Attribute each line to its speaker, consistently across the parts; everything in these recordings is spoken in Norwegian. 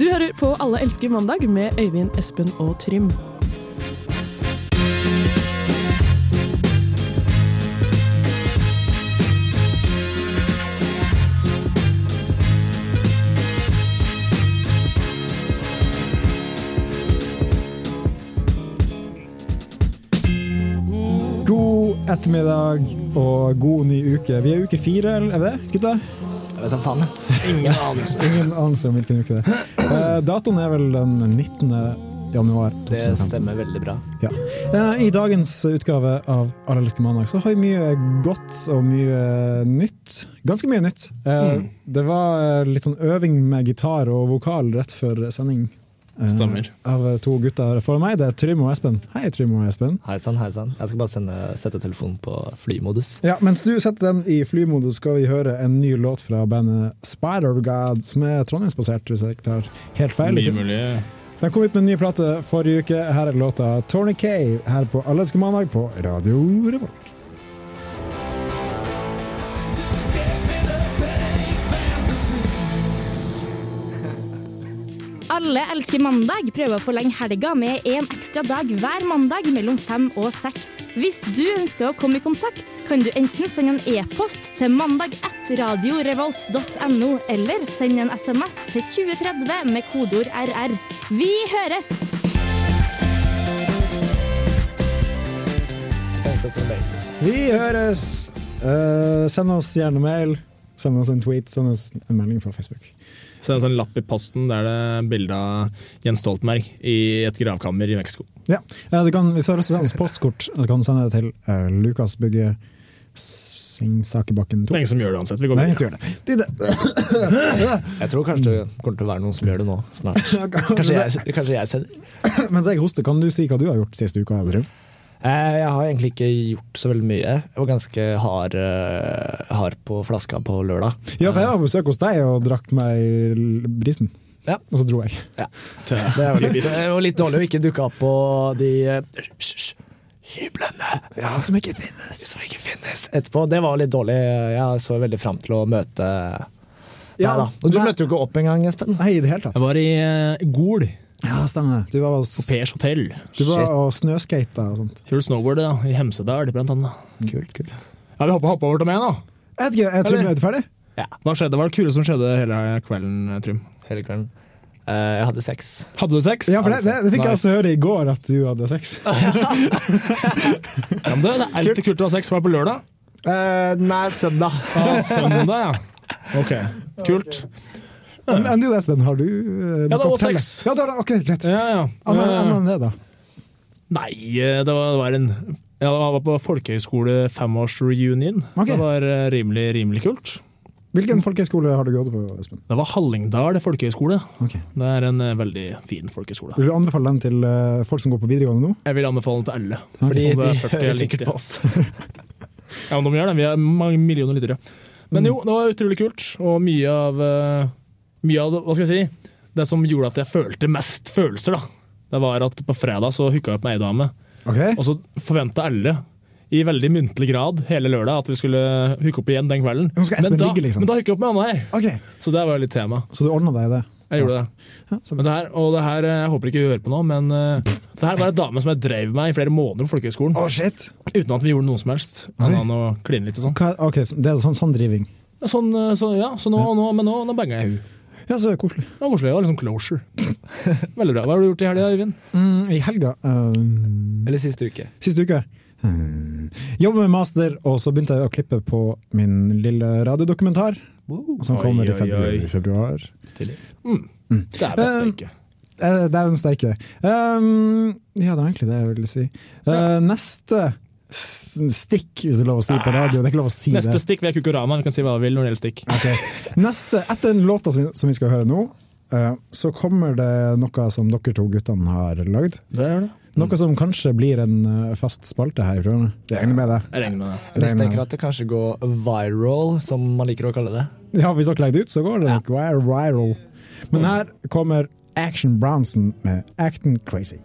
Speaker 1: hører på Alle elsker mandag med Øyvind, Espen og Trym.
Speaker 2: God ettermiddag og god ny uke. Vi er uke fire, eller er vi det, gutta?
Speaker 3: Jeg vet da faen. Ingen anelse.
Speaker 2: Ingen anelse om hvilken uke det er. Eh, datoen er vel den 19. januar
Speaker 3: Det
Speaker 2: 2015.
Speaker 3: stemmer veldig bra.
Speaker 2: Ja. Eh, I dagens utgave av Alle elsker mandag så har vi mye godt og mye nytt. Ganske mye nytt. Eh,
Speaker 3: Mm.
Speaker 2: Det var litt sånn øving med gitar og vokal rett før sending. eh,
Speaker 4: Stemmer.
Speaker 2: Av to gutter foran meg. Det er Trym og Espen. Hei, Trym og Espen.
Speaker 3: Hei sann, hei sann. Jeg skal bare sende, sette telefonen på flymodus.
Speaker 2: Ja, Mens du setter den i flymodus, skal vi høre en ny låt fra bandet Spider God, som er trondheimsbasert, hvis jeg ikke tar helt feil.
Speaker 4: Mye mulig.
Speaker 2: De kom ut med en ny plate forrige uke. Her er låta Tony K her på Allelske mandag på Radio Revolt.
Speaker 5: Alle elsker mandag prøver å forlenge helga med en ekstra dag hver mandag mellom fem og seks. Hvis du ønsker å komme i kontakt, kan du enten sende en e-post til mandag1radiorevolt.no, eller sende en SMS til 2030 med kodeord RR. Vi høres!
Speaker 3: Tenkte jeg skulle legge det.
Speaker 2: Vi høres! Eh, send oss gjerne mail. Send oss en tweet, send oss en melding fra Facebook.
Speaker 4: Så er det en sånn lapp i posten der det er bilde av Jens Stoltenberg i et gravkammer i Mexico.
Speaker 2: Ja, eh, du kan, Hvis du har lyst til å sende oss postkort, du kan sende det til uh, Lukas Bygge Singsakerbakken
Speaker 4: Det
Speaker 2: 2.
Speaker 4: er ingen som gjør det uansett. Vi går
Speaker 2: Nei, jeg
Speaker 4: videre.
Speaker 2: skal gjøre det. Dit-
Speaker 3: Jeg tror kanskje det kommer til å være noen som gjør det nå, snart. Kanskje jeg, kanskje jeg sender?
Speaker 2: Mens jeg hoster, kan du si hva du har gjort siste uka? Adrian?
Speaker 3: Eh, Jeg har egentlig ikke gjort så veldig mye. Jeg var ganske hard, eh, hard på flaska på lørdag.
Speaker 2: Ja, for jeg var på besøk hos deg og drakk meg l- brisen.
Speaker 3: Ja.
Speaker 2: Og så dro jeg.
Speaker 4: Tø.
Speaker 3: Det var litt, det var litt dårlig å ikke dukke opp på de eh, hysj, hysj, hyblene
Speaker 2: Ja, som ikke finnes.
Speaker 3: som ikke finnes etterpå. Det var litt dårlig. Jeg så veldig fram til å møte deg,
Speaker 2: Ja,
Speaker 3: da. Og du
Speaker 2: nei.
Speaker 3: møtte jo ikke opp engang, Espen.
Speaker 2: Nei, i det hele tatt.
Speaker 4: Jeg var i eh, Gol,
Speaker 2: Ja, stemmer det. Du var, og s-
Speaker 4: Pers hotell.
Speaker 2: du var og snøskata og sånt.
Speaker 4: Kjørte snowboard da, i Hemsedal, blant annet.
Speaker 3: Kult, kult.
Speaker 4: Ja, vi hoppa hoppa over til meg, da.
Speaker 2: Jeg vet ikke, jeg tror vi
Speaker 4: Eller-
Speaker 2: er ferdig.
Speaker 4: Hva skjedde? Hva var det kule som skjedde hele kvelden, Trym?
Speaker 3: Hele kvelden. Eh, jeg hadde sex.
Speaker 4: Hadde du sex?
Speaker 2: Ja, for det, det, det fikk jeg
Speaker 4: Nice.
Speaker 2: altså høre i går at du hadde sex.
Speaker 4: Ja, men det, det er alltid kult å ha sex. Var det på lørdag?
Speaker 3: Eh, nei, søndag.
Speaker 4: Ja, søndag, ja.
Speaker 2: Ok.
Speaker 4: Kult.
Speaker 2: Enn enn du da, Espen? Har du eh,
Speaker 4: Ja, det
Speaker 2: noe å
Speaker 4: var
Speaker 2: fortelle?
Speaker 4: sex.
Speaker 2: Ja, det var, ok, greit.
Speaker 4: Ja, ja.
Speaker 2: Annet
Speaker 4: Eh,
Speaker 2: annet enn det, da.
Speaker 4: Nei, eh, det var, det var en Jeg var på folkehøyskole femårsreunion.
Speaker 2: Ok.
Speaker 4: Det var eh, rimelig, rimelig kult.
Speaker 2: Hvilken folkehøyskole har du gått på, Espen?
Speaker 4: Det var Hallingdal folkehøyskole.
Speaker 2: Ok.
Speaker 4: Det er en eh, veldig fin folkehøyskole.
Speaker 2: Vil du anbefale den til eh, folk som går på videregående nå?
Speaker 4: Jeg vil anbefale den til alle.
Speaker 3: Fordi
Speaker 4: Om det
Speaker 3: de
Speaker 4: er 40
Speaker 3: hører
Speaker 4: eller
Speaker 3: sikkert
Speaker 4: 90.
Speaker 3: på oss.
Speaker 4: Ja, men de gjør det. Vi er mange millioner lyttere. Men jo, det var utrolig kult, og mye av eh, Mye av det, hva skal jeg si, det som gjorde at jeg følte mest følelser, da, det var at på fredag så hooka jeg opp med ei dame.
Speaker 2: Ok.
Speaker 4: Og så forventa alle, i veldig muntlig grad hele lørdag, at vi skulle hooke opp igjen den kvelden.
Speaker 2: Nå skal Espen
Speaker 4: Men da,
Speaker 2: ligge, liksom.
Speaker 4: men da hooka jeg opp med Anna her,
Speaker 2: Ok,
Speaker 4: så det var jo litt tema.
Speaker 2: Så du ordna deg det?
Speaker 4: Jeg gjorde det.
Speaker 2: Ja, så
Speaker 4: Men det her, og det her, eh, jeg håper ikke du hører på nå, men eh, det her var en dame som jeg drev med i flere måneder på folkehøgskolen.
Speaker 2: Å, shit!
Speaker 4: Uten at vi gjorde noe som helst.
Speaker 2: Oi.
Speaker 4: Annet enn å kline litt og sånn.
Speaker 2: Hva, ok, så Det er sånn sanddriving.
Speaker 4: Sånn, eh, så, ja, så nå, nå, men nå, nå banga jeg hun.
Speaker 2: Ja, så koselig.
Speaker 4: Det var koselig. Det var liksom closure. Veldig bra. Hva har du gjort i helga, Øyvind?
Speaker 2: Mm, I helga eh,
Speaker 3: Eller siste uke.
Speaker 2: Siste uke. Mm. Jobber med master, og så begynte jeg å klippe på min lille radiodokumentar. Som
Speaker 4: Oi,
Speaker 2: kommer
Speaker 4: oi,
Speaker 2: i februar.
Speaker 4: oi.
Speaker 2: i februar.
Speaker 3: Stilig.
Speaker 4: Mm. Det er best,
Speaker 2: Eh,
Speaker 4: ikke.
Speaker 2: Eh, det er en steike. Um, ja, det var egentlig det jeg ville si. Eh, Neste s- stikk, hvis det er lov å si på radio. Det er ikke lov å si
Speaker 4: Neste
Speaker 2: det.
Speaker 4: stikk ved Kukorama. Vi kan si hva vi vil når det gjelder stikk.
Speaker 2: Ok. Neste, etter den låta som vi, som vi skal høre nå, eh, så kommer det noe som dere to guttene har lagd.
Speaker 4: Det gjør det.
Speaker 2: Noe som kanskje blir en eh, fast spalte her i programmet. Jeg regner med det.
Speaker 4: Jeg regner med det.
Speaker 2: Jeg regner
Speaker 3: Jeg
Speaker 2: med det.
Speaker 3: tenker at det kanskje går viral, som man liker å kalle det.
Speaker 2: Ja, hvis dere legger det ut, så går det nok viral. Men her kommer Action Bronson med Acting Crazy.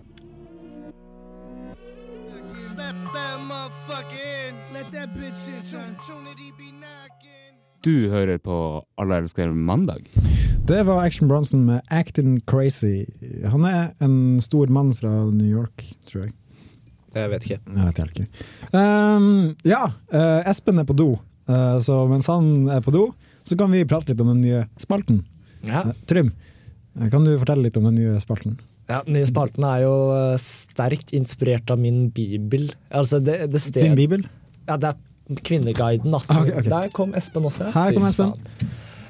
Speaker 6: Du hører på Alle elsker mandag.
Speaker 2: Det var Action Bronson med 'Acting Crazy'. Han er en stor mann fra New York, tror jeg.
Speaker 3: Jeg vet ikke.
Speaker 2: Jeg vet helt ikke. Ehm, ja, eh, Espen er på do, Eh, så mens han er på do, så kan vi prate litt om den nye spalten.
Speaker 3: Ja.
Speaker 2: Eh, Trym, eh, kan du fortelle litt om den nye spalten?
Speaker 3: Ja, den nye spalten er jo eh, sterkt inspirert av min bibel. Altså, det, det sted,
Speaker 2: Din bibel?
Speaker 3: Ja, det er Kvinneguiden. Altså.
Speaker 2: Ah, ok, ok.
Speaker 3: Der kom Espen også. ja.
Speaker 2: Her kom
Speaker 3: Fy
Speaker 2: Espen.
Speaker 3: faen.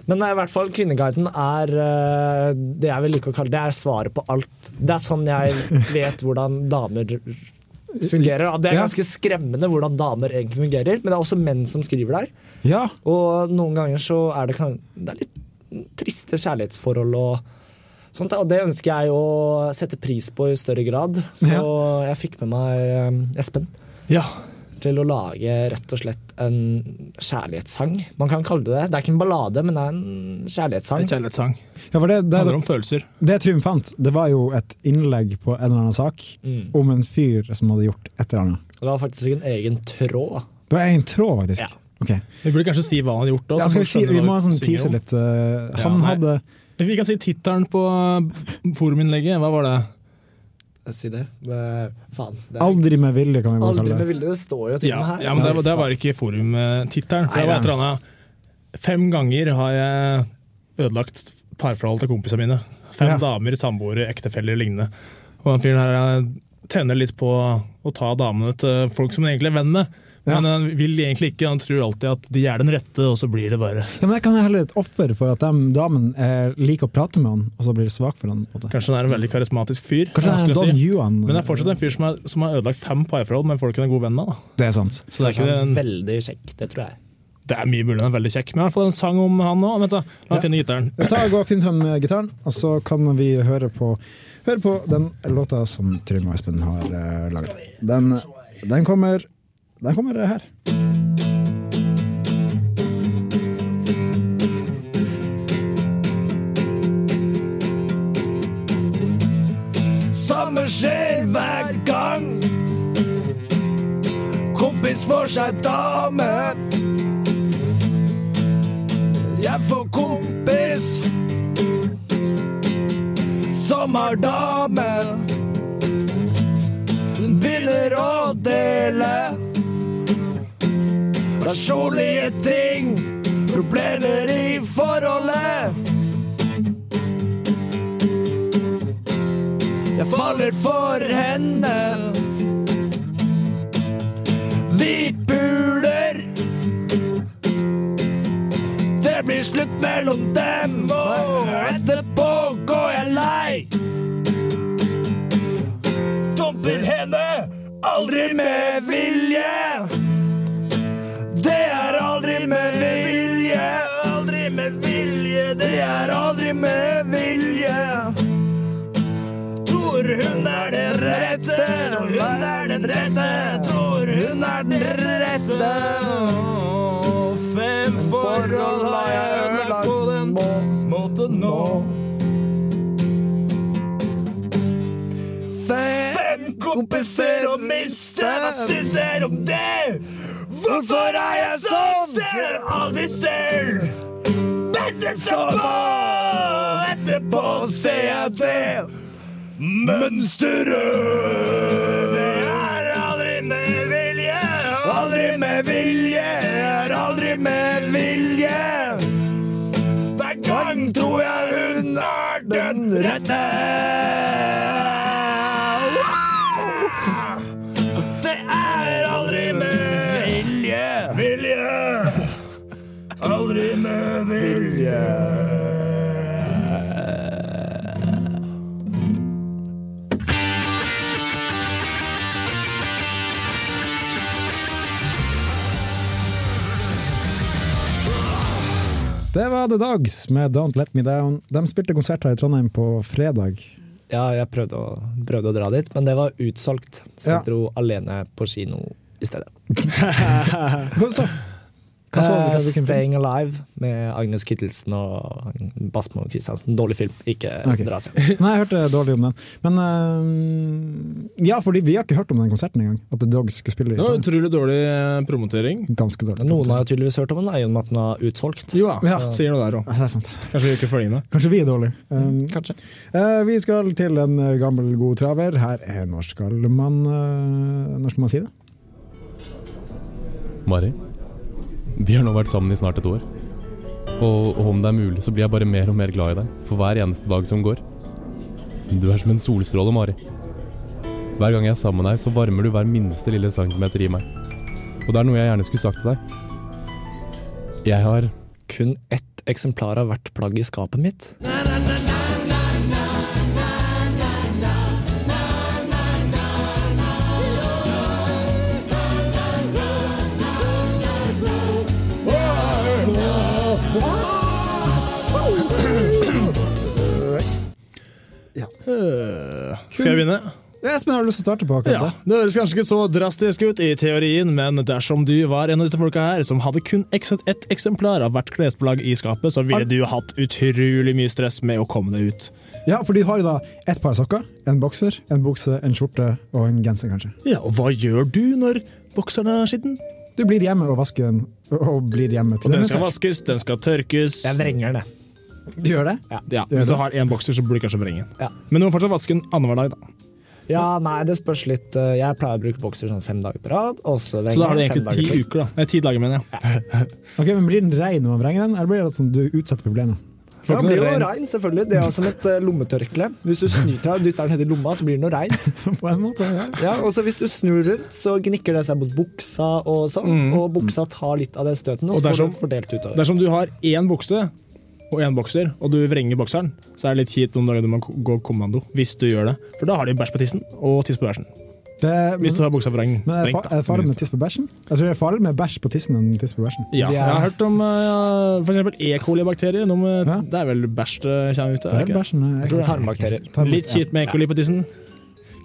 Speaker 3: Men nei, i hvert fall, Kvinneguiden er eh, det jeg vil like å kalle det er svaret på alt. Det er sånn jeg vet hvordan damer fungerer. da. Det er
Speaker 2: Ja.
Speaker 3: ganske skremmende hvordan damer egentlig fungerer, men det er også menn som skriver der.
Speaker 2: Ja!
Speaker 3: Og noen ganger så er det, kan- det er litt triste kjærlighetsforhold og sånt. da. Og det ønsker jeg å sette pris på i større grad. Så jeg fikk med meg eh, Espen
Speaker 4: Ja.
Speaker 3: til å lage rett og slett en kjærlighetssang. Man kan kalle det det. Det er ikke en ballade, men det er en
Speaker 4: En
Speaker 3: kjærlighetssang.
Speaker 4: kjærlighetssang.
Speaker 2: ja for det,
Speaker 4: Det
Speaker 2: det, det,
Speaker 4: handler om følelser.
Speaker 2: Trym fant, det var jo et innlegg på en eller annen sak
Speaker 3: Mm.
Speaker 2: om en fyr som hadde gjort et eller annet.
Speaker 3: Det var faktisk en egen tråd.
Speaker 2: Det var en tråd, faktisk.
Speaker 3: Ja.
Speaker 2: Ok.
Speaker 4: Vi burde kanskje si hva han har gjort. Da,
Speaker 2: Ja,
Speaker 4: så
Speaker 2: skal vi,
Speaker 4: folk
Speaker 2: si,
Speaker 4: skjønner
Speaker 2: vi
Speaker 4: hva
Speaker 2: må sånn
Speaker 4: synger
Speaker 2: tease
Speaker 4: om.
Speaker 2: litt. eh, Han
Speaker 4: Ja, nei.
Speaker 2: hadde
Speaker 4: Vi kan si tittelen på eh, foruminnlegget. Hva var det?
Speaker 3: Si det. Men, faen. Det er
Speaker 2: 'Aldri med vilje', kan vi bare
Speaker 3: aldri
Speaker 2: kalle
Speaker 3: med
Speaker 2: det.
Speaker 3: vilje. Det står jo til
Speaker 4: Ja,
Speaker 3: den her.
Speaker 4: ja men det, var- det var ikke forumtittelen. For det
Speaker 2: Nei,
Speaker 4: var et
Speaker 2: nei.
Speaker 4: eller annet Fem ganger har jeg ødelagt parforholdet til kompisene mine. Fem
Speaker 2: Ja.
Speaker 4: damer, samboere, ektefeller og lignende. Og den fyren her eh, tenner litt på å ta damene til folk som han egentlig er venn med.
Speaker 2: Ja.
Speaker 4: Men han vil egentlig ikke, han tror alltid at de er den rette, og så blir det bare
Speaker 2: Ja, men jeg kan heller et offer for at de damene eh, liker å prate med han, og så blir det svak for han. På en måte.
Speaker 4: Kanskje han er en veldig karismatisk fyr.
Speaker 2: Kanskje det er
Speaker 4: vanskelig
Speaker 2: en
Speaker 4: å
Speaker 2: Don
Speaker 4: si.
Speaker 2: Juan.
Speaker 4: Men det er fortsatt en fyr som, er, som har ødelagt fem parforhold, men folk han er god venn med. Da.
Speaker 2: Det er sant.
Speaker 4: Så det er, ikke en,
Speaker 3: Veldig kjekk, det tror jeg.
Speaker 4: det er mye mulig han er veldig kjekk. Men i hvert fall en sang om han òg. Vent, da.
Speaker 2: Ja.
Speaker 4: La meg finne gitaren.
Speaker 2: Ta og gå og Finn fram eh, gitaren, og så kan vi høre på, høre på den låta som Trym og Espen har eh, laget. Den, den, kommer, den kommer her.
Speaker 6: Samme skjer hver gang Kompis får seg dame Jeg får kompis Som har dame Hun begynner å dele Personlige ting Problemer i forholdet Jeg faller for henne. Vi puler. Det blir slutt mellom dem, og etterpå går jeg lei. Dumper henne, aldri med vilje. Det er aldri med vilje, aldri med vilje, det er aldri med vilje. Tror hun er den rette, hun er den rette, tror hun er den rette. Fem forhold har jeg ødelagt på den måten nå. Fem kompiser å miste, hva syns dere om det? Hvorfor er jeg sånn? Ser dere aldri selv? Beste som på! Etterpå ser jeg det. Mønsteret Det er aldri med vilje Aldri med vilje Er aldri med vilje Hver gang tror jeg hun er den rette Wow! Det er aldri med vilje Vilje Aldri med vilje
Speaker 2: Det var The Dogs med 'Don't Let Me Down'. De spilte konsert her i Trondheim på fredag.
Speaker 3: Ja, jeg prøvde å, prøvde å dra dit, men det var utsolgt. Så
Speaker 2: Ja.
Speaker 3: jeg dro alene på kino i stedet.
Speaker 2: Hva så? Hva så
Speaker 3: Eh,
Speaker 2: du? Hvilken film?
Speaker 3: Staying Alive med Agnes Kittelsen og Basmo Christiansen. Dårlig film, ikke
Speaker 2: Ok.
Speaker 3: dra og se den.
Speaker 2: Nei, jeg hørte dårlig om den. Men eh, Ja, fordi vi har ikke hørt om den konserten engang. At The Dogs skulle spille i
Speaker 4: Det var
Speaker 2: Italia.
Speaker 4: utrolig dårlig eh, promotering.
Speaker 2: Ganske dårlig.
Speaker 3: Noen har jo tydeligvis hørt om den, da, i og med at den er utsolgt.
Speaker 4: Jo da,
Speaker 2: Ja.
Speaker 4: sier noe der òg.
Speaker 2: Ja, Det er sant.
Speaker 4: Kanskje vi ikke følger med.
Speaker 2: Kanskje vi er dårlige. Um,
Speaker 4: Kanskje.
Speaker 2: eh, vi skal til en eh, gammel, god traver. Her er Når skal man eh, Når skal man si det?
Speaker 7: Mari, vi har nå vært sammen i snart et år. Og, og om det er mulig, så blir jeg bare mer og mer glad i deg for hver eneste dag som går. Du er som en solstråle, Mari. Hver gang jeg er sammen med deg, så varmer du hver minste lille centimeter i meg. Og det er noe jeg gjerne skulle sagt til deg. Jeg har
Speaker 3: Kun ett eksemplar av hvert plagg i skapet mitt.
Speaker 4: Skal jeg begynne?
Speaker 2: Espen, har du lyst til å starte på akkurat
Speaker 4: Ja, Det høres kanskje ikke så drastisk ut i teorien, men dersom du var en av disse folka her som hadde kun eks- ett eksemplar av hvert klesplagg i skapet, så ville du hatt utrolig mye stress med å komme deg ut.
Speaker 2: det? Ja, for de har jo da ett par sokker, en bokser, en bukse, en skjorte og en genser, kanskje.
Speaker 4: Ja, og hva gjør du når bokseren er skitten?
Speaker 2: Du blir hjemme og vasker den, og blir hjemme til
Speaker 4: Den
Speaker 2: den
Speaker 4: skal
Speaker 2: er tørr.
Speaker 4: vaskes, den skal tørkes.
Speaker 3: Jeg vrenger det.
Speaker 2: Du gjør det?
Speaker 4: Ja, Hvis du har én bokser, så burde du kanskje vrenge den.
Speaker 3: Ja.
Speaker 4: Men du må fortsatt vaske den annenhver dag, da.
Speaker 3: Ja, nei, det spørs litt. eh, Jeg pleier å bruke bokser sånn fem dager på rad. Og så
Speaker 4: Så da har du
Speaker 3: vrenger jeg fem
Speaker 4: egentlig
Speaker 3: dager
Speaker 4: ti
Speaker 3: til.
Speaker 4: uker, da. Nei, ti dager, mener jeg.
Speaker 2: Ok, men Blir den rein når man vrenger den, eller blir det sånn du utsetter problemet?
Speaker 4: Får
Speaker 3: Ja,
Speaker 4: ikke
Speaker 3: det blir
Speaker 4: noe
Speaker 3: jo
Speaker 4: regn.
Speaker 3: regn, selvfølgelig. Det er jo som et eh, lommetørkle. Hvis du snyter deg og dytter den nedi lomma, så blir det noe regn.
Speaker 2: På en måte, ja.
Speaker 3: Ja, og så hvis du snur rundt, så gnikker det seg mot buksa og sånn. Og buksa tar litt av den støten, og
Speaker 4: Og
Speaker 3: så får
Speaker 4: dersom-
Speaker 3: du fordelt utover.
Speaker 4: Dersom du har én bukse og én bokser, og du vrenger bokseren, så er det litt kjipt noen dager du må ko- gå kommando, hvis du gjør det. For da har de bæsj på tissen og tiss på bæsjen.
Speaker 2: Det, men,
Speaker 4: Hvis du har buksa vreng.
Speaker 2: men er det
Speaker 4: vrengt,
Speaker 2: fa-
Speaker 4: da,
Speaker 2: er det farlig med
Speaker 4: minst.
Speaker 2: tiss på bæsjen? Jeg tror det er farlig med bæsj på tissen enn tiss på bæsjen.
Speaker 4: Ja, jeg har hørt om eh, for eksempel E. coli-bakterier. noe med-
Speaker 2: Ja.
Speaker 4: Det er vel bæsj det kommer ut av?
Speaker 2: Det
Speaker 4: er
Speaker 2: er
Speaker 4: det ikke?
Speaker 2: bæsjen. Jeg,
Speaker 3: Dersom tarmbakterier.
Speaker 2: Tarm-
Speaker 4: Litt kjipt med E. coli på tissen.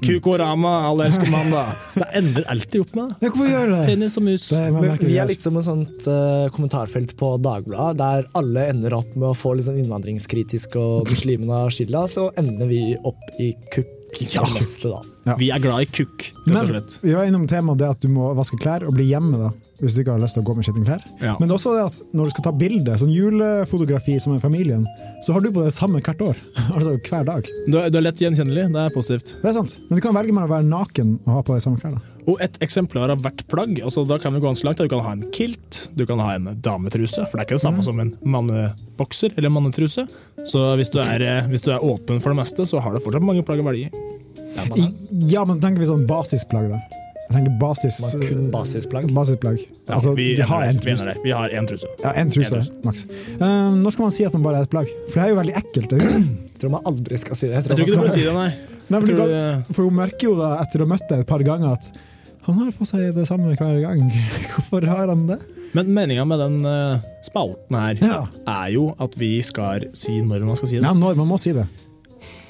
Speaker 4: Kukorama, alle elsker mann, da. Det ender alltid opp med det.
Speaker 2: Ja, hvorfor gjør du det?
Speaker 4: penis og mus.
Speaker 2: det jeg
Speaker 3: Men
Speaker 2: merker
Speaker 3: vi er
Speaker 2: det.
Speaker 3: litt som et sånt eh, kommentarfelt på Dagbladet, der alle ender opp med å få litt sånn innvandringskritisk og muslimene har skylda, så ender vi opp i kukk. Ja. Neste, da.
Speaker 2: Ja.
Speaker 4: Vi er glad i kukk, rett og
Speaker 2: Men
Speaker 4: slett.
Speaker 2: vi var innom temaet det at du må vaske klær og bli hjemme da, hvis du ikke har lyst til å gå med skittenklær.
Speaker 4: Ja.
Speaker 2: Men også det at når du skal ta bilde, sånn julefotografi som er familien, så har du på det samme hvert år. altså hver dag.
Speaker 4: Du er, du er lett gjenkjennelig. Det er positivt.
Speaker 2: Det er sant. Men du kan velge mellom å være naken og ha på de samme klærne.
Speaker 4: Og ett eksemplar av hvert plagg. Altså, da kan vi gå ganske langt. da. Du kan ha en kilt, du kan ha en dametruse, for det er ikke det
Speaker 2: Mhm.
Speaker 4: samme som en mannebokser eller mannetruse. Så hvis du, er, eh, hvis du er åpen for det meste, så har du fortsatt mange plagg å velge i.
Speaker 2: I, ja, men tenker vi sånn basisplagg da. Jeg tenker basis... eh,
Speaker 3: Man har kun basisplagg.
Speaker 2: Basisplagg.
Speaker 4: Ja,
Speaker 2: altså,
Speaker 4: vi,
Speaker 2: de har
Speaker 4: ender
Speaker 2: en
Speaker 4: der.
Speaker 2: truse.
Speaker 4: vi ender der. Vi har én truse.
Speaker 2: Ja, en truse,
Speaker 4: En truse.
Speaker 2: maks. Eh, når skal man si at man bare er et plagg? For det er jo veldig ekkelt. er det ikke?
Speaker 3: Jeg tror man aldri skal si det. Jeg
Speaker 4: Jeg
Speaker 3: tror
Speaker 4: tror
Speaker 3: man skal...
Speaker 4: ikke du bør si det, nei.
Speaker 2: Nei, men
Speaker 4: Jeg
Speaker 2: du
Speaker 4: tror,
Speaker 2: kan,
Speaker 4: eh,
Speaker 2: For hun merker jo da, etter å ha møtt deg et par ganger, at han har på seg det samme hver gang. Hvorfor har han det?
Speaker 4: Men meninga med den eh, spalten her
Speaker 2: Ja.
Speaker 4: er jo at vi skal si når man skal si det.
Speaker 2: Ja, når man må si det.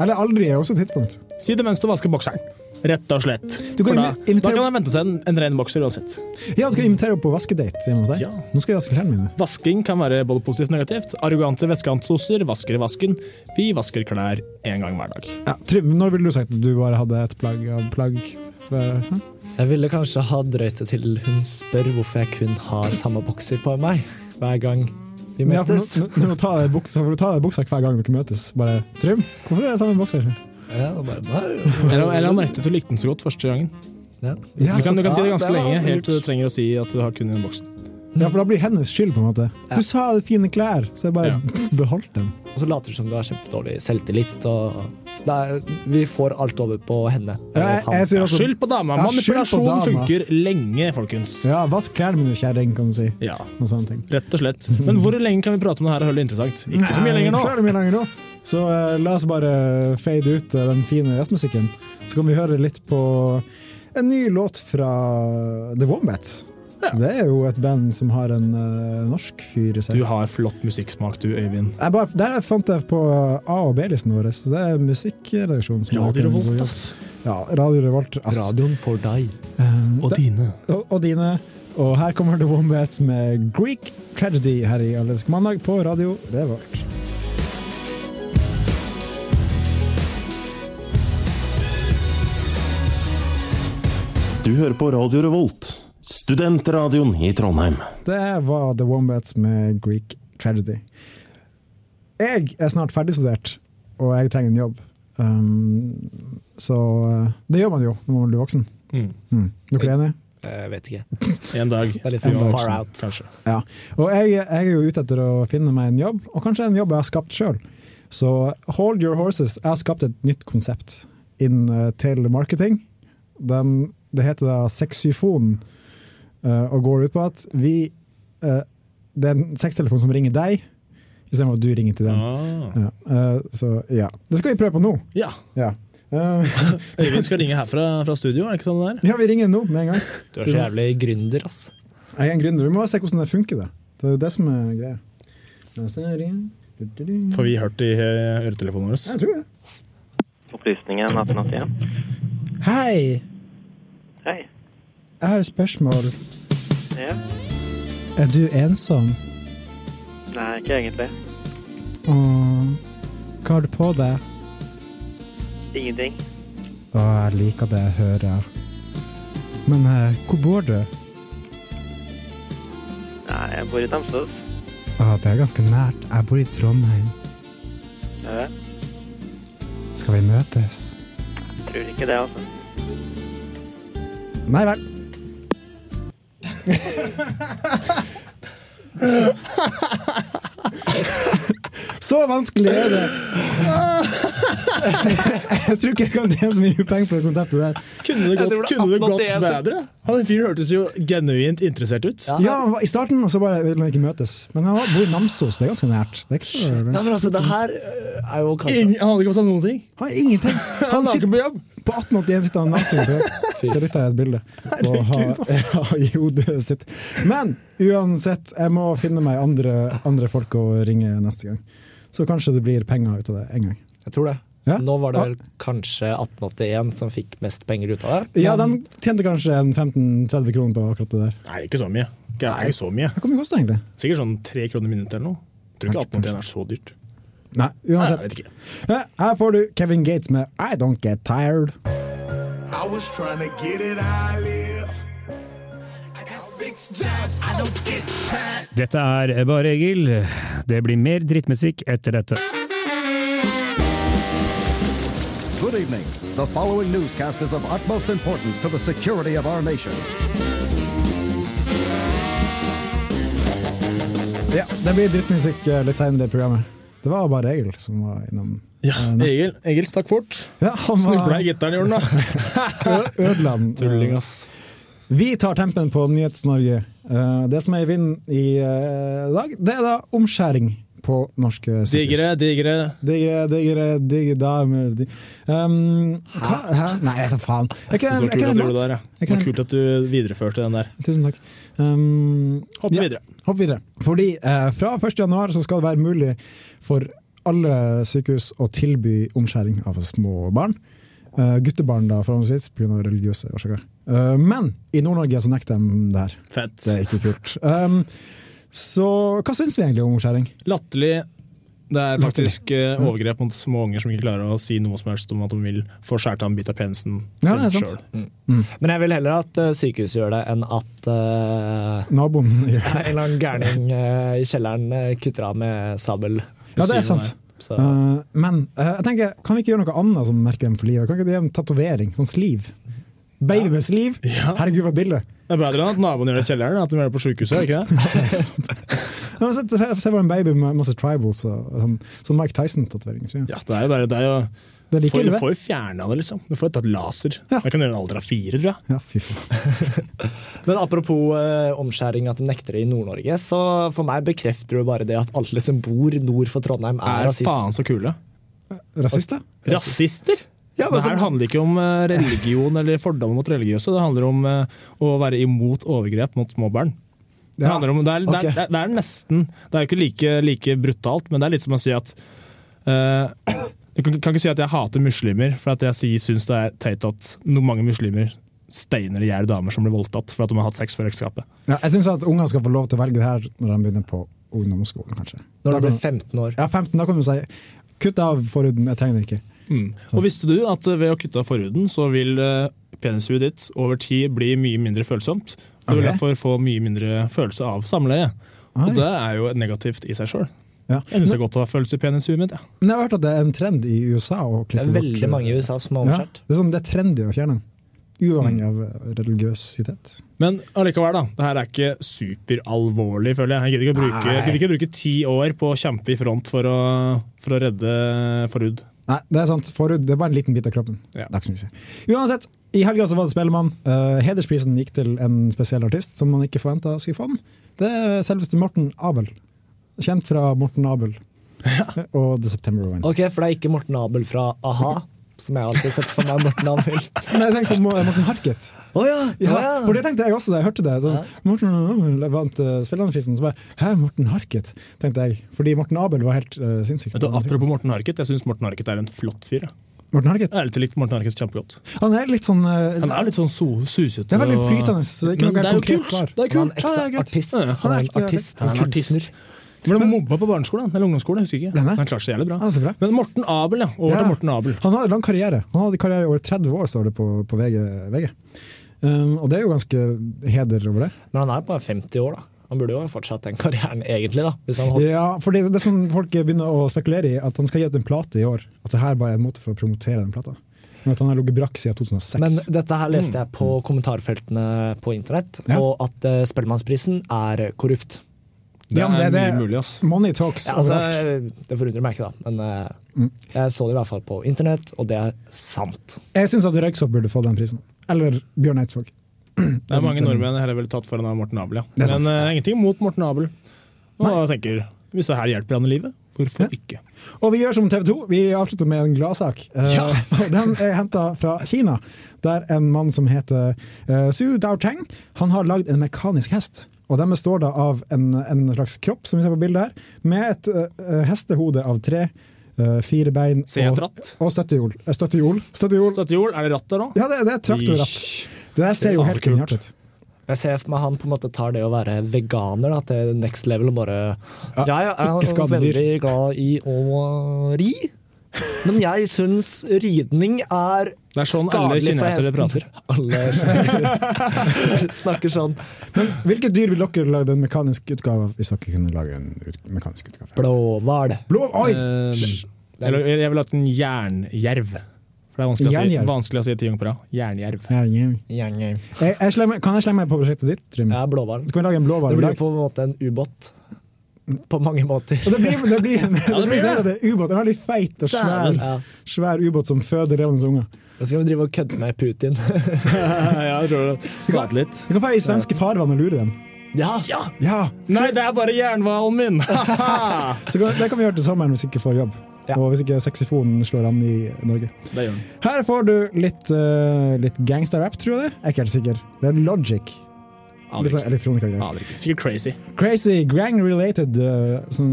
Speaker 2: Eller aldri er også et tidspunkt.
Speaker 4: Si det mens du vasker bokseren. Rett og slett.
Speaker 2: Du kan
Speaker 4: For da,
Speaker 2: invi- invitere-
Speaker 4: da kan man vente seg en, en ren bokser uansett.
Speaker 2: Ja, du kan invitere henne på vaskedate hjemme hos deg.
Speaker 4: Ja.
Speaker 2: Nå skal jeg vaske klærne mine.
Speaker 4: Vasking kan være både positivt og negativt. Arrogante vestkantsoser vasker i vasken. Vi vasker klær én gang hver dag.
Speaker 2: Ja, Trym, når ville du sagt at du bare hadde et plagg av plagg? hver- Hm?
Speaker 3: Jeg ville kanskje ha drøyt det til hun spør hvorfor jeg kun har samme bokser på meg hver gang vi
Speaker 2: Ja, for
Speaker 3: møtes.
Speaker 2: nå, nå, nå tar jeg buksa, for du tar deg buksa hver gang dere møtes. Bare, Trym, hvorfor er det samme bokser?
Speaker 3: Ja, og bare,
Speaker 4: Eller, eller han merket at du likte den så godt første gangen.
Speaker 3: ja.
Speaker 2: Ja,
Speaker 4: Du kan, du kan si det ganske
Speaker 3: Ja, det var
Speaker 4: lenge, helt
Speaker 3: lurt.
Speaker 4: til du trenger å si at du har kun en bokser.
Speaker 2: Ja, for da blir hennes skyld, på en måte.
Speaker 3: Ja.
Speaker 2: Du sa det fine klær, så jeg bare
Speaker 4: Ja.
Speaker 2: beholdt dem.
Speaker 3: Og så later du som du har kjempedårlig selvtillit. Og det er, vi får alt over på henne.
Speaker 2: Ja, jeg, jeg, sier også-
Speaker 4: Skyld på dama!
Speaker 2: Ja, skyld på
Speaker 4: Manipulasjon
Speaker 2: dama.
Speaker 4: funker lenge, folkens.
Speaker 2: Ja, vask klærne mine, kjerring, kan du si.
Speaker 4: Ja,
Speaker 2: Noen sånne ting.
Speaker 4: rett og slett. Men hvor lenge kan vi prate om det her og holde det interessant? Ikke så mye lenger nå.
Speaker 2: Så, er det mye lenger nå. så eh, la oss bare fade ut eh, den fine jazzmusikken. Så kan vi høre litt på en ny låt fra The Wombats. Det er jo et band som har en eh, norsk fyr i
Speaker 4: Du
Speaker 2: seg.
Speaker 4: har flott musikksmak, du, Øyvind.
Speaker 2: Jeg bare, der fant jeg på eh, A- og B-listen vår, så det er musikkredaksjonen. som har-
Speaker 4: ass.
Speaker 2: Ja, Radio Revolt, ass.
Speaker 3: Radioen for deg
Speaker 2: Eh,
Speaker 4: Og dine.
Speaker 2: og, og dine. Og her kommer The Wombats med Greek Tragedy her i Allersk mandag på Radio Revolt.
Speaker 8: Du hører på Radio Revolt, studentradioen i Trondheim.
Speaker 2: Det var The Wombats med Greek Tragedy. Jeg er snart ferdigstudert, og jeg trenger en jobb. Um, så eh, det gjør man jo når man blir voksen.
Speaker 4: Mm.
Speaker 2: Mm. Dere er enige?
Speaker 3: Jeg vet ikke.
Speaker 4: En dag.
Speaker 3: Det er litt
Speaker 2: En
Speaker 3: for
Speaker 2: voksen.
Speaker 3: far out.
Speaker 4: Kanskje.
Speaker 2: Ja. Og jeg, jeg er jo ute etter å finne meg en jobb, og kanskje en jobb jeg har skapt sjøl. Så hold your horses. Jeg har skapt et nytt konsept inn eh, til marketing. Den, det heter da Sexyfon, eh, og går ut på at vi eh, Det er en sextelefon som ringer deg, istedenfor at du ringer til den.
Speaker 4: Ah.
Speaker 2: Ja. eh, så ja. Det skal vi prøve på nå.
Speaker 4: Ja.
Speaker 2: Ja. Eh,
Speaker 4: Øyvind skal ringe herfra fra studio, er det ikke sånn det er?
Speaker 2: ja, vi ringer nå med en gang.
Speaker 3: Du er så jævlig gründer, ass.
Speaker 2: Jeg er en gründer. Vi må se hvordan det funker. Det Det er jo det som er greia. Jeg
Speaker 4: Får vi hørt i eh, øretelefonen vår?
Speaker 2: tror det.
Speaker 9: Opplysningen 1881.
Speaker 2: Hei,
Speaker 9: Hei.
Speaker 2: jeg har et spørsmål.
Speaker 9: Ja.
Speaker 2: Er du ensom?
Speaker 9: Nei, ikke egentlig.
Speaker 2: Og hva har du på deg?
Speaker 9: Ingenting.
Speaker 2: Å, jeg liker det jeg hører. Men eh, hvor bor du? Å,
Speaker 9: Nei, jeg bor i Tamsås.
Speaker 2: det er ganske nært. Jeg bor i Trondheim.
Speaker 9: Ja,
Speaker 2: Skal vi møtes?
Speaker 9: jeg tror ikke det, altså.
Speaker 2: Nei vel. Så vanskelig er det. Jeg tror ikke jeg kan tjene så mye penger på det konseptet der.
Speaker 4: Kunne det gått,
Speaker 3: tror det er
Speaker 4: kunne det gått
Speaker 3: akkurat det jeg sa.
Speaker 4: bedre? Han fyren hørtes jo genuint interessert ut.
Speaker 3: Ja.
Speaker 2: Ja, han var i starten, og så bare ville han ikke møtes. Men han var- bor i Namsos, det er ganske nært. Det er ikke så
Speaker 3: Nei, men
Speaker 2: langt.
Speaker 3: altså, det her øh, er jo kanskje
Speaker 4: Ingen, han hadde ikke fått sagt noen ting.
Speaker 2: Han har ingenting! Han
Speaker 4: Han er
Speaker 2: sitter
Speaker 4: ikke på jobb.
Speaker 2: på 1881 sitter han naken. i brød. Det er litt av et bilde å ha ha i hodet sitt. Men uansett, jeg må finne meg andre, andre folk å ringe neste gang. Så kanskje det blir penger ut av det en gang.
Speaker 3: Jeg tror det.
Speaker 2: Ja?
Speaker 3: Nå var det vel kanskje 1881 som fikk mest penger ut av det.
Speaker 2: Ja, de tjente kanskje en 15-30 kroner på akkurat det der.
Speaker 4: Nei, ikke så mye. Ikke, ikke så mye.
Speaker 2: Hva kan det koste, egentlig?
Speaker 4: Sikkert sånn tre kroner minuttet eller noe. Tror ikke 1881 er så dyrt.
Speaker 2: Nei,
Speaker 4: Nei,
Speaker 2: uansett.
Speaker 4: jeg vet ikke.
Speaker 2: Ja, Her får du Kevin Gates med I Don't Get Tired.
Speaker 6: I was trying to get it, I live. I got six jobs, I don't get tired.
Speaker 10: Dette er Bare Egil. Det blir mer drittmusikk etter dette.
Speaker 11: Good evening. The following newscast is of utmost importance to the security of our nation.
Speaker 2: Ja, Det blir drittmusikk eh, litt senere i programmet. Det var bare Egil som var innom.
Speaker 4: Ja,
Speaker 2: Eh, neste-
Speaker 4: Egil, Egil stakk fort.
Speaker 2: Ja, han
Speaker 4: Snubla
Speaker 2: var
Speaker 4: i gitaren, gjorde han da.
Speaker 2: Ø- Ødland. eh,
Speaker 4: Tulling, ass.
Speaker 2: Vi tar tempen på Nyhets-Norge. Eh, Det som er i vinden i eh, dag, det er da omskjæring på norske sykehus.
Speaker 4: Digre, digre.
Speaker 2: Digre, digre, digre damer dig. um, Hæ? Hæ? Nei, jeg tar faen. Er ikke den-
Speaker 4: Så det
Speaker 2: er
Speaker 4: var kult
Speaker 2: ikke
Speaker 4: at du
Speaker 2: den
Speaker 4: gjorde det
Speaker 2: låt?
Speaker 4: der, ja.
Speaker 2: Jeg
Speaker 4: Det
Speaker 2: kan-
Speaker 4: var kult at du videreførte den der.
Speaker 2: Tusen takk. Um,
Speaker 4: Hopp
Speaker 2: ja,
Speaker 4: videre.
Speaker 2: Hopp videre. Fordi eh, fra 1. januar så skal det være mulig for alle sykehus å tilby omskjæring av små barn. Eh, guttebarn, da, forholdsvis, pga. religiøse årsaker. Eh, men i Nord-Norge så nekter de det her.
Speaker 4: Fett.
Speaker 2: Det er ikke kult. Um, så hva syns vi egentlig om omskjæring?
Speaker 4: Latterlig. Det er faktisk eh, overgrep mot små unger som ikke klarer å si noe som helst om at de vil få skåret av en bit av penisen
Speaker 2: Ja, det er
Speaker 4: sin
Speaker 2: sant.
Speaker 4: sjøl.
Speaker 3: Men jeg vil heller at øh, sykehuset gjør det, enn at øh,
Speaker 2: Naboen gjør
Speaker 3: en eller annen gærning øh, i kjelleren øh, kutter av med sabel.
Speaker 2: Ja, det er sant.
Speaker 3: Så,
Speaker 2: Eh, men eh, jeg tenker, kan vi ikke gjøre noe annet som merker dem for livet? Kan ikke de gjøre en tatovering? Sånn sliv? Babyens liv?
Speaker 4: Ja.
Speaker 2: Herregud, for et bilde!
Speaker 4: Det er bedre enn at naboen gjør det i kjelleren, enn at de gjør det på sjukehuset. er det Ikke det?
Speaker 2: Ja, men Se, se bare en baby med masse tribals og sånn, sånn Mike Tyson-tatovering. tror jeg.
Speaker 4: Ja, det er jo bare det er jo,
Speaker 2: Det er like
Speaker 4: får, Du
Speaker 2: ille, det.
Speaker 4: får jo fjerna det, liksom. Du får jo tatt laser.
Speaker 2: Ja.
Speaker 4: Jeg kan gjøre en alder av fire, tror jeg.
Speaker 2: Ja, fy faen.
Speaker 3: Men apropos eh, omskjæring, at de nekter det i Nord-Norge, så for meg bekrefter du bare det at alle som bor nord for Trondheim, er
Speaker 4: Er
Speaker 3: rasister.
Speaker 4: faen så kule.
Speaker 2: Rasist, da?
Speaker 4: Rasister? det her handler ikke om eh, religion eller fordommer mot religiøse. Det handler om eh, å være imot overgrep mot små barn. Det,
Speaker 2: Ja.
Speaker 4: handler om, det, er, det,
Speaker 2: ok.
Speaker 4: er, det er nesten Det er jo ikke like, like brutalt, men det er litt som å si at eh, Du kan, kan ikke si at jeg hater muslimer, for at jeg sier, syns det er teit at no, mange muslimer steiner i hjel damer som blir voldtatt for at de har hatt sex før ekteskapet.
Speaker 2: Ja, jeg syns at ungene skal få lov til å velge det her når de begynner på ungdomsskolen, kanskje.
Speaker 3: Når
Speaker 2: Da
Speaker 3: du blir
Speaker 2: kan-
Speaker 3: 15 år.
Speaker 2: Ja, 15, da kan du si kutt av forhuden, jeg trenger det ikke.
Speaker 4: Mm. Og visste du at eh, ved å kutte av forhuden, så vil eh, penishudet ditt over tid bli mye mindre følsomt. Du vil
Speaker 2: Ok.
Speaker 4: derfor få mye mindre følelse av samleie.
Speaker 2: Oi.
Speaker 4: Og det er jo negativt i seg sjøl.
Speaker 2: Ja.
Speaker 4: Jeg syns det er godt å ha følelse i penishudet mitt. Ja.
Speaker 2: Men jeg har hørt at det er en trend i USA å klippe
Speaker 4: Det er veldig
Speaker 2: bort- eh,
Speaker 4: mange i USA som har omskjært.
Speaker 2: Ja, det, er sånn, det er trendy å fjerne den,
Speaker 4: Mm.
Speaker 2: uavhengig av eh, religiøsitet.
Speaker 4: Men allikevel, da. Det her er ikke superalvorlig, føler jeg. Jeg gidder ikke, å bruke, jeg gidder ikke å bruke ti år på å kjempe i front for å, for å redde forhud.
Speaker 2: Nei, det er sant. Forhud det er bare en liten bit av kroppen.
Speaker 4: Ja.
Speaker 2: Det er ikke så mye. å si. Uansett, i helga så var det Spellemann. Eh, hedersprisen gikk til en spesiell artist som man ikke forventa skulle få den. Det er selveste Morten Abel. Kjent fra Morten Abel og The September Wine.
Speaker 3: Ok, for det er ikke Morten Abel fra A-ha, som jeg alltid har sett for meg Morten Abel.
Speaker 2: Nei, tenk på Mo- Morten Harket.
Speaker 3: Å ja,
Speaker 2: Ja,
Speaker 3: å ja.
Speaker 2: For det tenkte jeg også da jeg hørte det. Sånn, Morten Abel vant uh, Spellemannprisen. Så bare Hæ, Morten Harket? tenkte jeg. Fordi Morten Abel var helt eh, sinnssyk.
Speaker 4: Vet du, apropos Morten Harket, jeg syns Morten Harket er en flott fyr. jeg.
Speaker 2: Morten Harket?
Speaker 4: Jeg er litt likt Morten Harket kjempegodt.
Speaker 2: Han er litt sånn eh,
Speaker 4: Han er litt sånn so susete.
Speaker 2: Det er veldig
Speaker 4: og-
Speaker 2: flytende, så ikke
Speaker 4: Men
Speaker 2: noe
Speaker 4: det er jo
Speaker 2: konkret
Speaker 4: kult.
Speaker 2: svar.
Speaker 4: Det er kult.
Speaker 2: Han er en ekte
Speaker 4: ja, det er greit.
Speaker 2: artist.
Speaker 4: Ja, ja.
Speaker 2: Han er en ekte artist.
Speaker 4: Han er en artist. Han ble mobba på barneskolen eller ungdomsskolen. jeg husker ikke. Han klarte seg jævlig bra. Men Morten Abel, ja. Over
Speaker 2: Ja.
Speaker 4: til Morten Abel.
Speaker 2: Han hadde lang karriere. Han hadde karriere i over 30 år, står det på, på VG. VG. Um, og det er jo ganske heder over det.
Speaker 3: Men han er bare 50 år, da. Han burde jo ha fortsatt den karrieren, egentlig, da. Hvis han holdt
Speaker 2: Ja, for det, det er sånn folk begynner å spekulere i at han skal gi ut en plate i år. At det her bare er en måte for å promotere den plata. Men at han har ligget brakk siden 2006.
Speaker 3: Men dette her leste
Speaker 2: Mm.
Speaker 3: jeg på kommentarfeltene på internett,
Speaker 2: Ja.
Speaker 3: og at eh, Spellemannsprisen er korrupt.
Speaker 2: Ja, men det- det- Money talks
Speaker 3: Ja, altså,
Speaker 2: overalt.
Speaker 3: det forundrer meg ikke, da. Men eh, jeg så det i hvert fall på internett, og det er sant.
Speaker 2: Jeg syns at Røyksopp burde få den prisen. Eller Bjørn Eidsvåg.
Speaker 4: Det er mange nordmenn jeg heller ville tatt foran av Morten Abel, ja.
Speaker 2: Det er sant.
Speaker 4: Men eh, ingenting mot Morten Abel. Og jeg tenker, hvis det her hjelper han i livet, hvorfor ikke?
Speaker 2: Og vi gjør som TV 2, vi avslutter med en gladsak. Eh, og den er henta fra Kina, der en mann som heter eh, Su Daoteng, han har lagd en mekanisk hest. Og den består da av en, en slags kropp, som vi ser på bildet her, med et eh, hestehode av tre, eh, fire bein
Speaker 4: Ser jeg et
Speaker 2: og,
Speaker 4: ratt?
Speaker 2: og støttehjul. Eh, Støttehjul. Støttehjul.
Speaker 4: Støttehjul, er det ratt der òg?
Speaker 2: Ja, det, det er traktorratt. Det der ser jo helt genialt ut.
Speaker 3: Jeg ser for meg han på en måte tar det å være veganer da, til next level og bare Ja, jeg
Speaker 2: ikke
Speaker 3: er
Speaker 2: skadedyr.
Speaker 3: veldig glad i å ri, men jeg syns ridning er
Speaker 4: Det er sånn alle
Speaker 3: skadelig for
Speaker 4: kinesere
Speaker 3: hesten.
Speaker 4: prater.
Speaker 3: Alle kinesere snakker sånn.
Speaker 2: Men hvilke dyr ville dere lagd en mekanisk utgave av hvis dere kunne lage en ut mekanisk utgave?
Speaker 3: Blåhval.
Speaker 2: Blå, oi!
Speaker 4: Eh, eller, jeg ville hatt en jernjerv. For det er vanskelig å si,
Speaker 2: Jernjerv.
Speaker 4: vanskelig å si ti ganger på rad. Jernjerv.
Speaker 2: Jernjerv. Jeg, jeg slenger, meg- kan jeg slenge meg på prosjektet ditt, Trym?
Speaker 3: Jeg er blåhval.
Speaker 2: Skal vi lage en blåhval
Speaker 3: Det
Speaker 2: i
Speaker 3: blir
Speaker 2: dag?
Speaker 3: på en måte en ubåt. På mange måter.
Speaker 2: Og det blir, det blir, en,
Speaker 3: Ja,
Speaker 2: det
Speaker 3: det
Speaker 2: blir
Speaker 3: blir
Speaker 2: sånn at det er ubåt. En veldig feit og svær,
Speaker 3: Dæven. Ja.
Speaker 2: svær ubåt som føder levende unger.
Speaker 3: Da skal vi drive og kødde med Putin.
Speaker 4: ja, jeg tror det. Prate litt.
Speaker 2: Vi kan være i svenske farvann og lure dem.
Speaker 3: Ja!
Speaker 2: Ja,
Speaker 4: Nei, det er bare jernhvalen min!
Speaker 2: så kan, Det kan vi gjøre til sommeren hvis ikke får jobb. Og hvis ikke saksofonen slår an i Norge.
Speaker 4: det gjør den.
Speaker 2: Her får du litt, eh, litt gangsterrap, tror jeg det. Jeg er ikke helt sikker. Det er Logic.
Speaker 4: Aner
Speaker 2: Litt sånn
Speaker 4: ikke.
Speaker 2: elektronikagreier.
Speaker 4: Aner ikke. Sikkert crazy.
Speaker 2: Crazy gang-related. eh, sånn,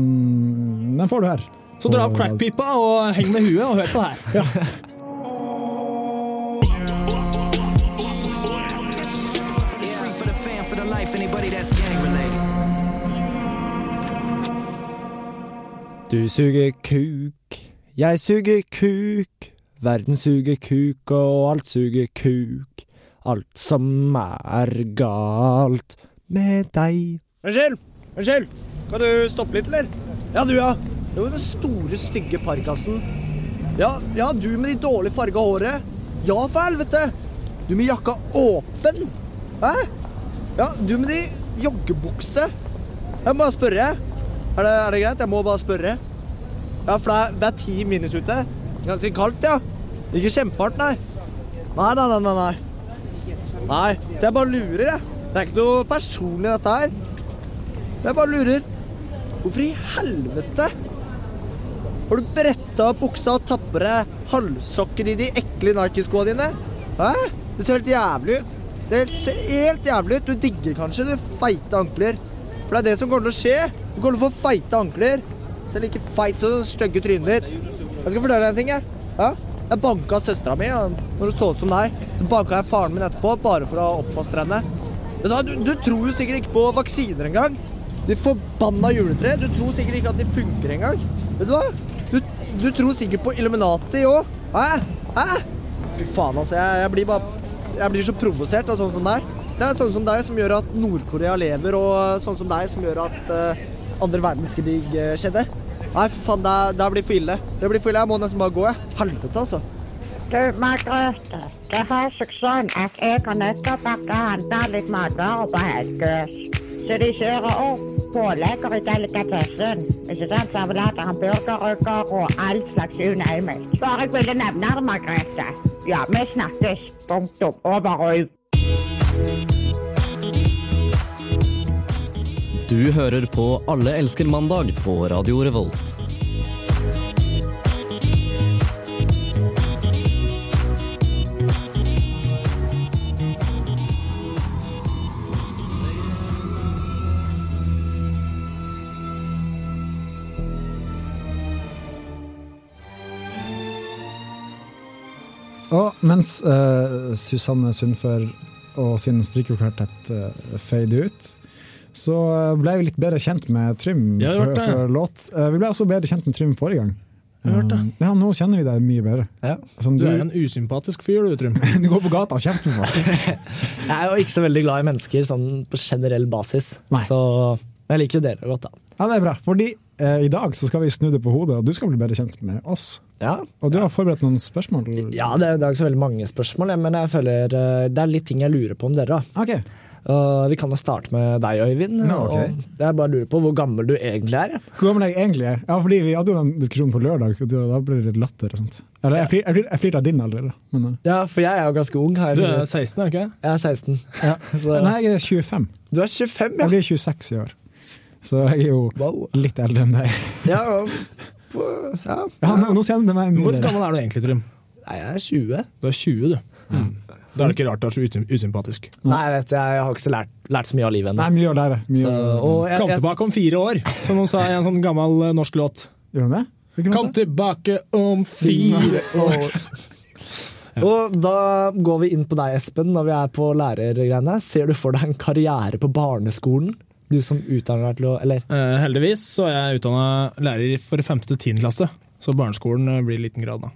Speaker 2: den får du her.
Speaker 4: Så dra opp crackpipa og heng med huet og hør på det her.
Speaker 12: for the fan, for the life, anybody that's gang related.
Speaker 3: Du suger kuk, jeg suger kuk. Verden suger kuk, og alt suger kuk. Alt som er galt med deg.
Speaker 13: Unnskyld! Unnskyld! Kan du stoppe litt, eller? Ja, du, ja. Det var den store, stygge parkasen. Ja, ja, du med de dårlig farga håret. Ja, for helvete! Du med jakka åpen. Hæ? Ja, du med de joggebukse. Jeg må bare spørre. Er det, er det greit? Jeg må bare spørre. Ja, for det er, det er ti minus ute. Ganske kaldt, ja. Ikke kjempefart, nei. Nei, nei, nei, nei. nei. Nei, så jeg bare lurer, jeg. Det er ikke noe personlig, dette her. Jeg bare lurer. Hvorfor i helvete har du bretta opp buksa og tapper deg halvsokker i de ekle Nike-skoa dine? Hæ? Det ser helt jævlig ut. Det helt- ser helt jævlig ut. Du digger kanskje du feite ankler. For det er det som kommer til å skje. Du kommer til å få feite ankler. Selv like feit som det stygge trynet ditt. Jeg skal fortelle deg en ting, jeg. Ja? Jeg banka søstera mi ja, når hun så ut som deg. Så banka jeg faren min etterpå, bare for å oppfostre henne. Vet du, hva, du, du tror jo sikkert ikke på vaksiner engang. De forbanna juletreet. Du tror sikkert ikke at de funker engang. Vet du hva? Du, du tror sikkert på Illuminati òg. Hæ? Hæ? Fy faen, altså. Jeg, jeg blir bare Jeg blir så provosert av sånn som deg. Det er sånn som deg som gjør at Nord-Korea lever, og sånn som deg som gjør at eh, andre verdenskrig eh, skjedde. Nei, for faen, det, er- det blir for ille. Det blir for ille. Jeg må nesten bare gå, jeg. Helvete, altså.
Speaker 14: Du, Margrethe, det har seg sånn at jeg har nettopp vært og handla litt matvarer på Helgøs. Så de kjører opp pålegger i delikatessen. Ikke sant? Servelater, hamburgerrygger og all slags unøyme. Bare jeg ville nevne det, Margrethe. Ja, vi snakkes. Punktum. Over og ut.
Speaker 15: Du hører på Alle elsker mandag på Radio Revolt.
Speaker 2: Og mens eh, Susanne Sundfør og sin strykekvartett uh, fade ut, så eh, ble vi litt bedre kjent med Trym
Speaker 4: Ja, det ble
Speaker 2: før,
Speaker 4: det.
Speaker 2: før låt. Eh, vi ble også bedre kjent med Trym forrige gang.
Speaker 4: Det ble det.
Speaker 2: Eh, ja, nå kjenner vi deg mye bedre. Som
Speaker 4: Du
Speaker 2: du,
Speaker 4: er en usympatisk fyr, du, Trym.
Speaker 2: du går på gata og kjefter på folk.
Speaker 3: Jeg er jo ikke så veldig glad i mennesker sånn på generell basis, så men jeg liker jo dere godt, da.
Speaker 2: Ja, det er bra. Fordi eh, i dag så skal vi snu det på hodet, og du skal bli bedre kjent med oss. Og du har forberedt noen spørsmål.
Speaker 3: Ja, det er, det er ikke så veldig mange spørsmål, jeg, men jeg føler eh, det er litt ting jeg lurer på om dere.
Speaker 2: da.
Speaker 3: Eh, vi kan jo starte med deg, Øyvind.
Speaker 2: Ja, ok.
Speaker 3: og jeg bare lurer på hvor gammel du egentlig er. jeg.
Speaker 2: Hvor gammel er jeg egentlig? er? Ja, fordi Vi hadde jo den diskusjonen på lørdag, og da ble det litt latter. og sånt. Eller, jeg flir- jeg flir- jeg flirte av din allerede. Men, eh,
Speaker 3: Ja, For jeg er jo ganske ung. Har jeg
Speaker 2: Du er
Speaker 3: 16, er du ikke? Jeg er 16. Så-
Speaker 2: Nei, jeg er 25.
Speaker 3: Du er 25, ja?
Speaker 2: Jeg blir 26 i år. Så jeg er jo litt eldre enn deg.
Speaker 3: ja, og- på- ja.
Speaker 2: Ja, nå, nå kjenner det meg mye
Speaker 4: Hvor
Speaker 2: bedre.
Speaker 4: gammel er du egentlig, Trym? Mm.
Speaker 3: Nei, jeg er 20.
Speaker 4: Mm. Du er 20, du. Da er det ikke rart du er så usym- usympatisk.
Speaker 3: Nei, jeg vet, jeg har ikke så lært, lært så mye av livet ennå.
Speaker 2: Nei, mye å lære. Mye
Speaker 3: Så,
Speaker 2: å-
Speaker 3: og jeg-
Speaker 4: Kom
Speaker 3: jeg-
Speaker 4: tilbake om fire år, som de sa i en sånn gammel eh, norsk låt.
Speaker 2: Gjør de det?
Speaker 4: Kom tilbake om fire år.
Speaker 3: Og da går vi inn på deg, Espen, når vi er på lærergreiene. Ser du for deg en karriere på barneskolen? Du som utdanner deg til å Eller?
Speaker 4: Eh, heldigvis så er jeg utdanna lærer for 5. til 10. klasse, så barneskolen eh, blir i liten grad, da.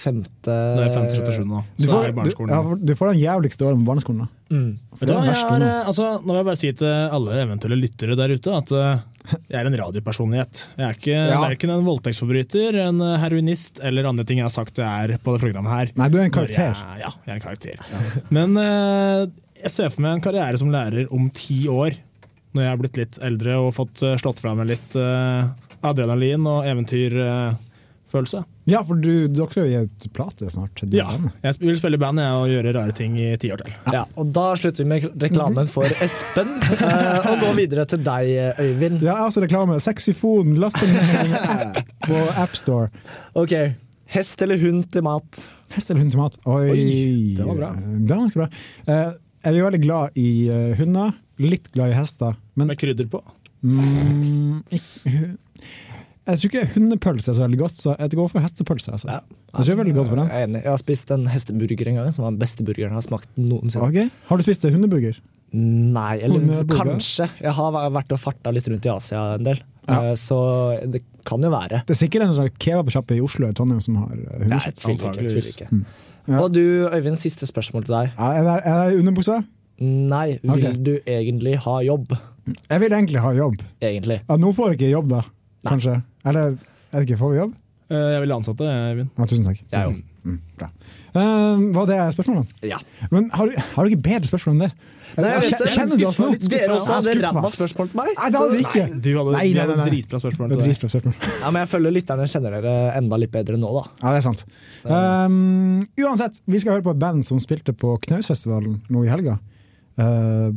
Speaker 3: Femte
Speaker 4: Nå er jeg 5. til 77 nå,
Speaker 2: Du
Speaker 4: så er
Speaker 2: får,
Speaker 4: jeg i
Speaker 2: du,
Speaker 4: barneskolen.
Speaker 2: ja, for- du får den jævligste åren på barneskolen. da.
Speaker 3: Mm.
Speaker 2: For
Speaker 4: Vet du
Speaker 2: det er
Speaker 4: hva,
Speaker 2: den
Speaker 4: jeg
Speaker 2: verste
Speaker 4: er,
Speaker 2: åren.
Speaker 4: eh, altså, nå vil jeg bare si til alle eventuelle lyttere der ute at eh, jeg er en radiopersonlighet. Jeg er ikke
Speaker 2: Ja.
Speaker 4: verken en voldtektsforbryter, en eh, heroinist eller andre ting jeg har sagt jeg er på det programmet her.
Speaker 2: Nei, du er en
Speaker 4: Når
Speaker 2: karakter.
Speaker 4: Jeg, ja, jeg er en karakter. Men eh, jeg ser for meg en karriere som lærer om ti år, når jeg er blitt litt eldre og fått eh, slått fra meg litt eh, adrenalin og eh, eventyrfølelse.
Speaker 2: Ja, for du, du skal jo gi ut plate snart.
Speaker 4: ja, jeg sp- vil spille i band jeg, og gjøre rare ting i ti år til.
Speaker 3: Ja, og da slutter vi med reklamen for Espen, eh, og går videre til deg, Øyvind.
Speaker 2: Ja, altså reklame. Sexyfon, last den ned på AppStore.
Speaker 3: Ok. Hest eller hund til mat?
Speaker 2: Hest eller hund til mat? Oi,
Speaker 3: Oi, det var bra.
Speaker 2: Det var ganske bra. Eh, Jeg er jo veldig glad i eh, hunder, litt glad i hester. Men,
Speaker 4: Med krydder på.
Speaker 2: Mm, ikk- hu- jeg tror ikke hundepølse er så veldig godt, så jeg går for hestepølse. Altså. Jeg tror jeg er veldig godt for den.
Speaker 3: Jeg er enig. Jeg har spist en hesteburger en gang, som var den beste burgeren jeg har smakt noensinne.
Speaker 2: Ok. Har du spist hundeburger?
Speaker 3: Nei, eller
Speaker 2: Hundeburger?
Speaker 3: kanskje. Jeg har vært og farta litt rundt i Asia en del, eh, så det kan jo være.
Speaker 2: Det er sikkert en slags kebabsjappe i Oslo eller Trondheim som har eh,
Speaker 3: Nei,
Speaker 2: hundekjøtt.
Speaker 3: jeg tviler ikke. Jeg tviler ikke.
Speaker 2: Mm.
Speaker 3: Og du, Øyvind, siste spørsmål til deg.
Speaker 2: Er det, er det underbuksa?
Speaker 3: Nei, vil
Speaker 2: Ok.
Speaker 3: du egentlig ha jobb?
Speaker 2: Jeg vil egentlig ha jobb.
Speaker 3: Egentlig.
Speaker 2: Ja, nå får jeg ikke jobb, da. Kanskje. Eller, jeg vet ikke, får vi jobb?
Speaker 4: Eh, Jeg vil ansette deg, Eivind.
Speaker 2: Ja, tusen takk.
Speaker 3: Jeg òg.
Speaker 2: Mm, bra. Eh, var det spørsmålet?
Speaker 3: Ja.
Speaker 2: Men har du, har du ikke bedre spørsmål enn det?
Speaker 3: Nei, jeg vet det.
Speaker 2: Kjenner du oss nå?
Speaker 3: Litt skuffa. Dere også hadde
Speaker 2: Jeg er skuffa,
Speaker 3: ræva
Speaker 2: ass.
Speaker 3: spørsmål til meg.
Speaker 2: Nei, det hadde vi ikke.
Speaker 3: Nei, du hadde-
Speaker 2: Nei,
Speaker 3: du
Speaker 2: nei,
Speaker 3: hadde
Speaker 2: nei, nei.
Speaker 4: dritbra spørsmål
Speaker 2: Det var
Speaker 4: til deg.
Speaker 2: Dritbra spørsmål.
Speaker 3: Ja, men jeg føler lytterne kjenner dere enda litt bedre nå, da.
Speaker 2: Ja, det er sant. Um, uansett, vi skal høre på et band som spilte på Knausfestivalen nå i helga. Eh,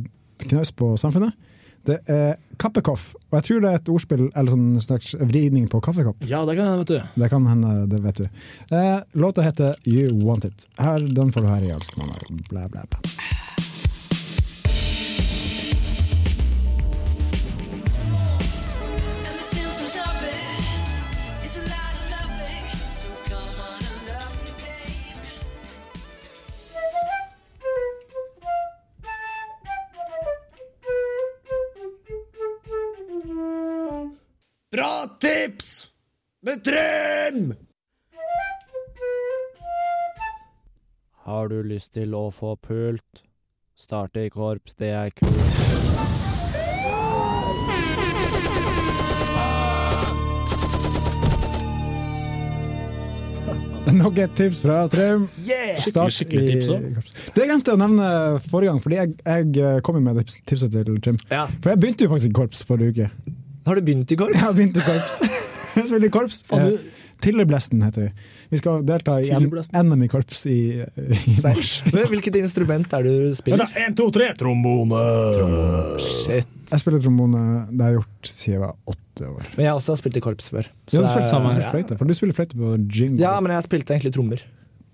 Speaker 2: Knaus på Samfunnet. Det er Kappekoff, og jeg tror det er et ordspill eller sånn slags vridning på kaffekopp.
Speaker 4: Ja, det kan jeg, vet du.
Speaker 2: Det kan hende, det vet du. Eh, låta heter You Want It. Her, den får du her i Alskmandag. Blæ, blæ, blæ.
Speaker 6: Bra tips! Med Trym!
Speaker 16: Har du lyst til å få pult? Starte i korps, det er kult.
Speaker 2: Nok et tips fra Trym.
Speaker 6: Yeah!
Speaker 2: Start
Speaker 4: Skikkelig- skikkelig
Speaker 2: i-
Speaker 4: tips også.
Speaker 2: Det jeg glemte å nevne forrige gang, fordi jeg, jeg kom jo med det tipset til Trym. For jeg begynte jo faktisk i korps forrige uke.
Speaker 3: Har du begynt i korps?
Speaker 2: Jeg har begynt i korps. jeg spiller i korps.
Speaker 3: Faen, du-
Speaker 2: Eh, Tilleblesten heter vi. Vi skal delta i N- NM i korps i, i mars.
Speaker 3: Hvilket instrument er det du spiller?
Speaker 4: Én, to, tre, trombone!
Speaker 3: Shit.
Speaker 2: Jeg spiller trombone. Det har jeg gjort siden jeg var åtte år.
Speaker 3: Men jeg har også spilt i korps før.
Speaker 2: Ja, du
Speaker 3: det er-
Speaker 2: spiller sammen
Speaker 3: ja.
Speaker 2: fløyte, for du spiller fløyte på jingle.
Speaker 3: Ja, men jeg spilte egentlig trommer.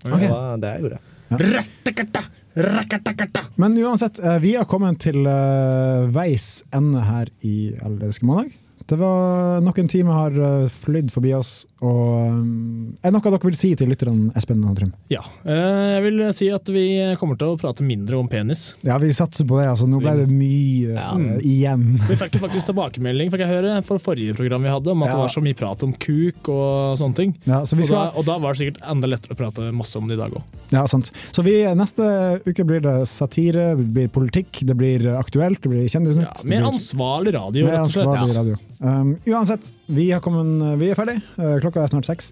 Speaker 2: Ok.
Speaker 3: Det var det jeg gjorde.
Speaker 2: Men uansett, eh, vi har kommet til eh, veis ende her i Allelske mandag. Det var Noen timer har eh, flydd forbi oss, og eh, er det noe dere vil si til lytterne, Espen og Trym?
Speaker 4: Ja. eh, Jeg vil si at vi kommer til å prate mindre om penis.
Speaker 2: Ja, vi satser på det, altså. Nå ble det mye eh, igjen.
Speaker 4: Vi fikk jo faktisk tilbakemelding fikk jeg høre, for forrige program vi hadde, om at det var så mye prat om kuk og sånne ting.
Speaker 2: Ja, så vi skal-
Speaker 4: og, da, og da var det sikkert enda lettere å prate masse om det i dag òg.
Speaker 2: Ja, sant. Så vi, neste uke blir det satire, det blir politikk, det blir aktuelt, det blir Kjendisnytt. det
Speaker 4: Mer
Speaker 2: blir-
Speaker 4: ansvarlig radio,
Speaker 2: Mer
Speaker 4: rett og slett.
Speaker 2: ansvarlig
Speaker 4: Ja.
Speaker 2: radio. Um, uansett, vi, har kommet, vi er ferdig. Uh, klokka er snart seks.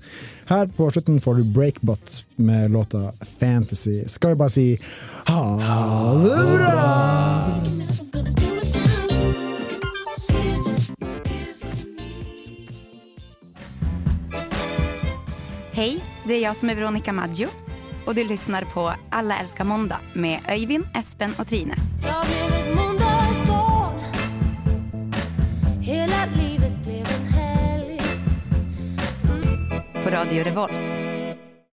Speaker 2: Her på slutten får du Breakbot med låta Fantasy. Skal vi bare si ha det bra!
Speaker 17: Hej, det är jag som är Veronica Maggio och du lyssnar på Alla älskar måndag med Öyvind, Espen och Trine.
Speaker 18: Jag blev ett måndagsbarn Hela livet blev en helg
Speaker 17: På Radio Revolt.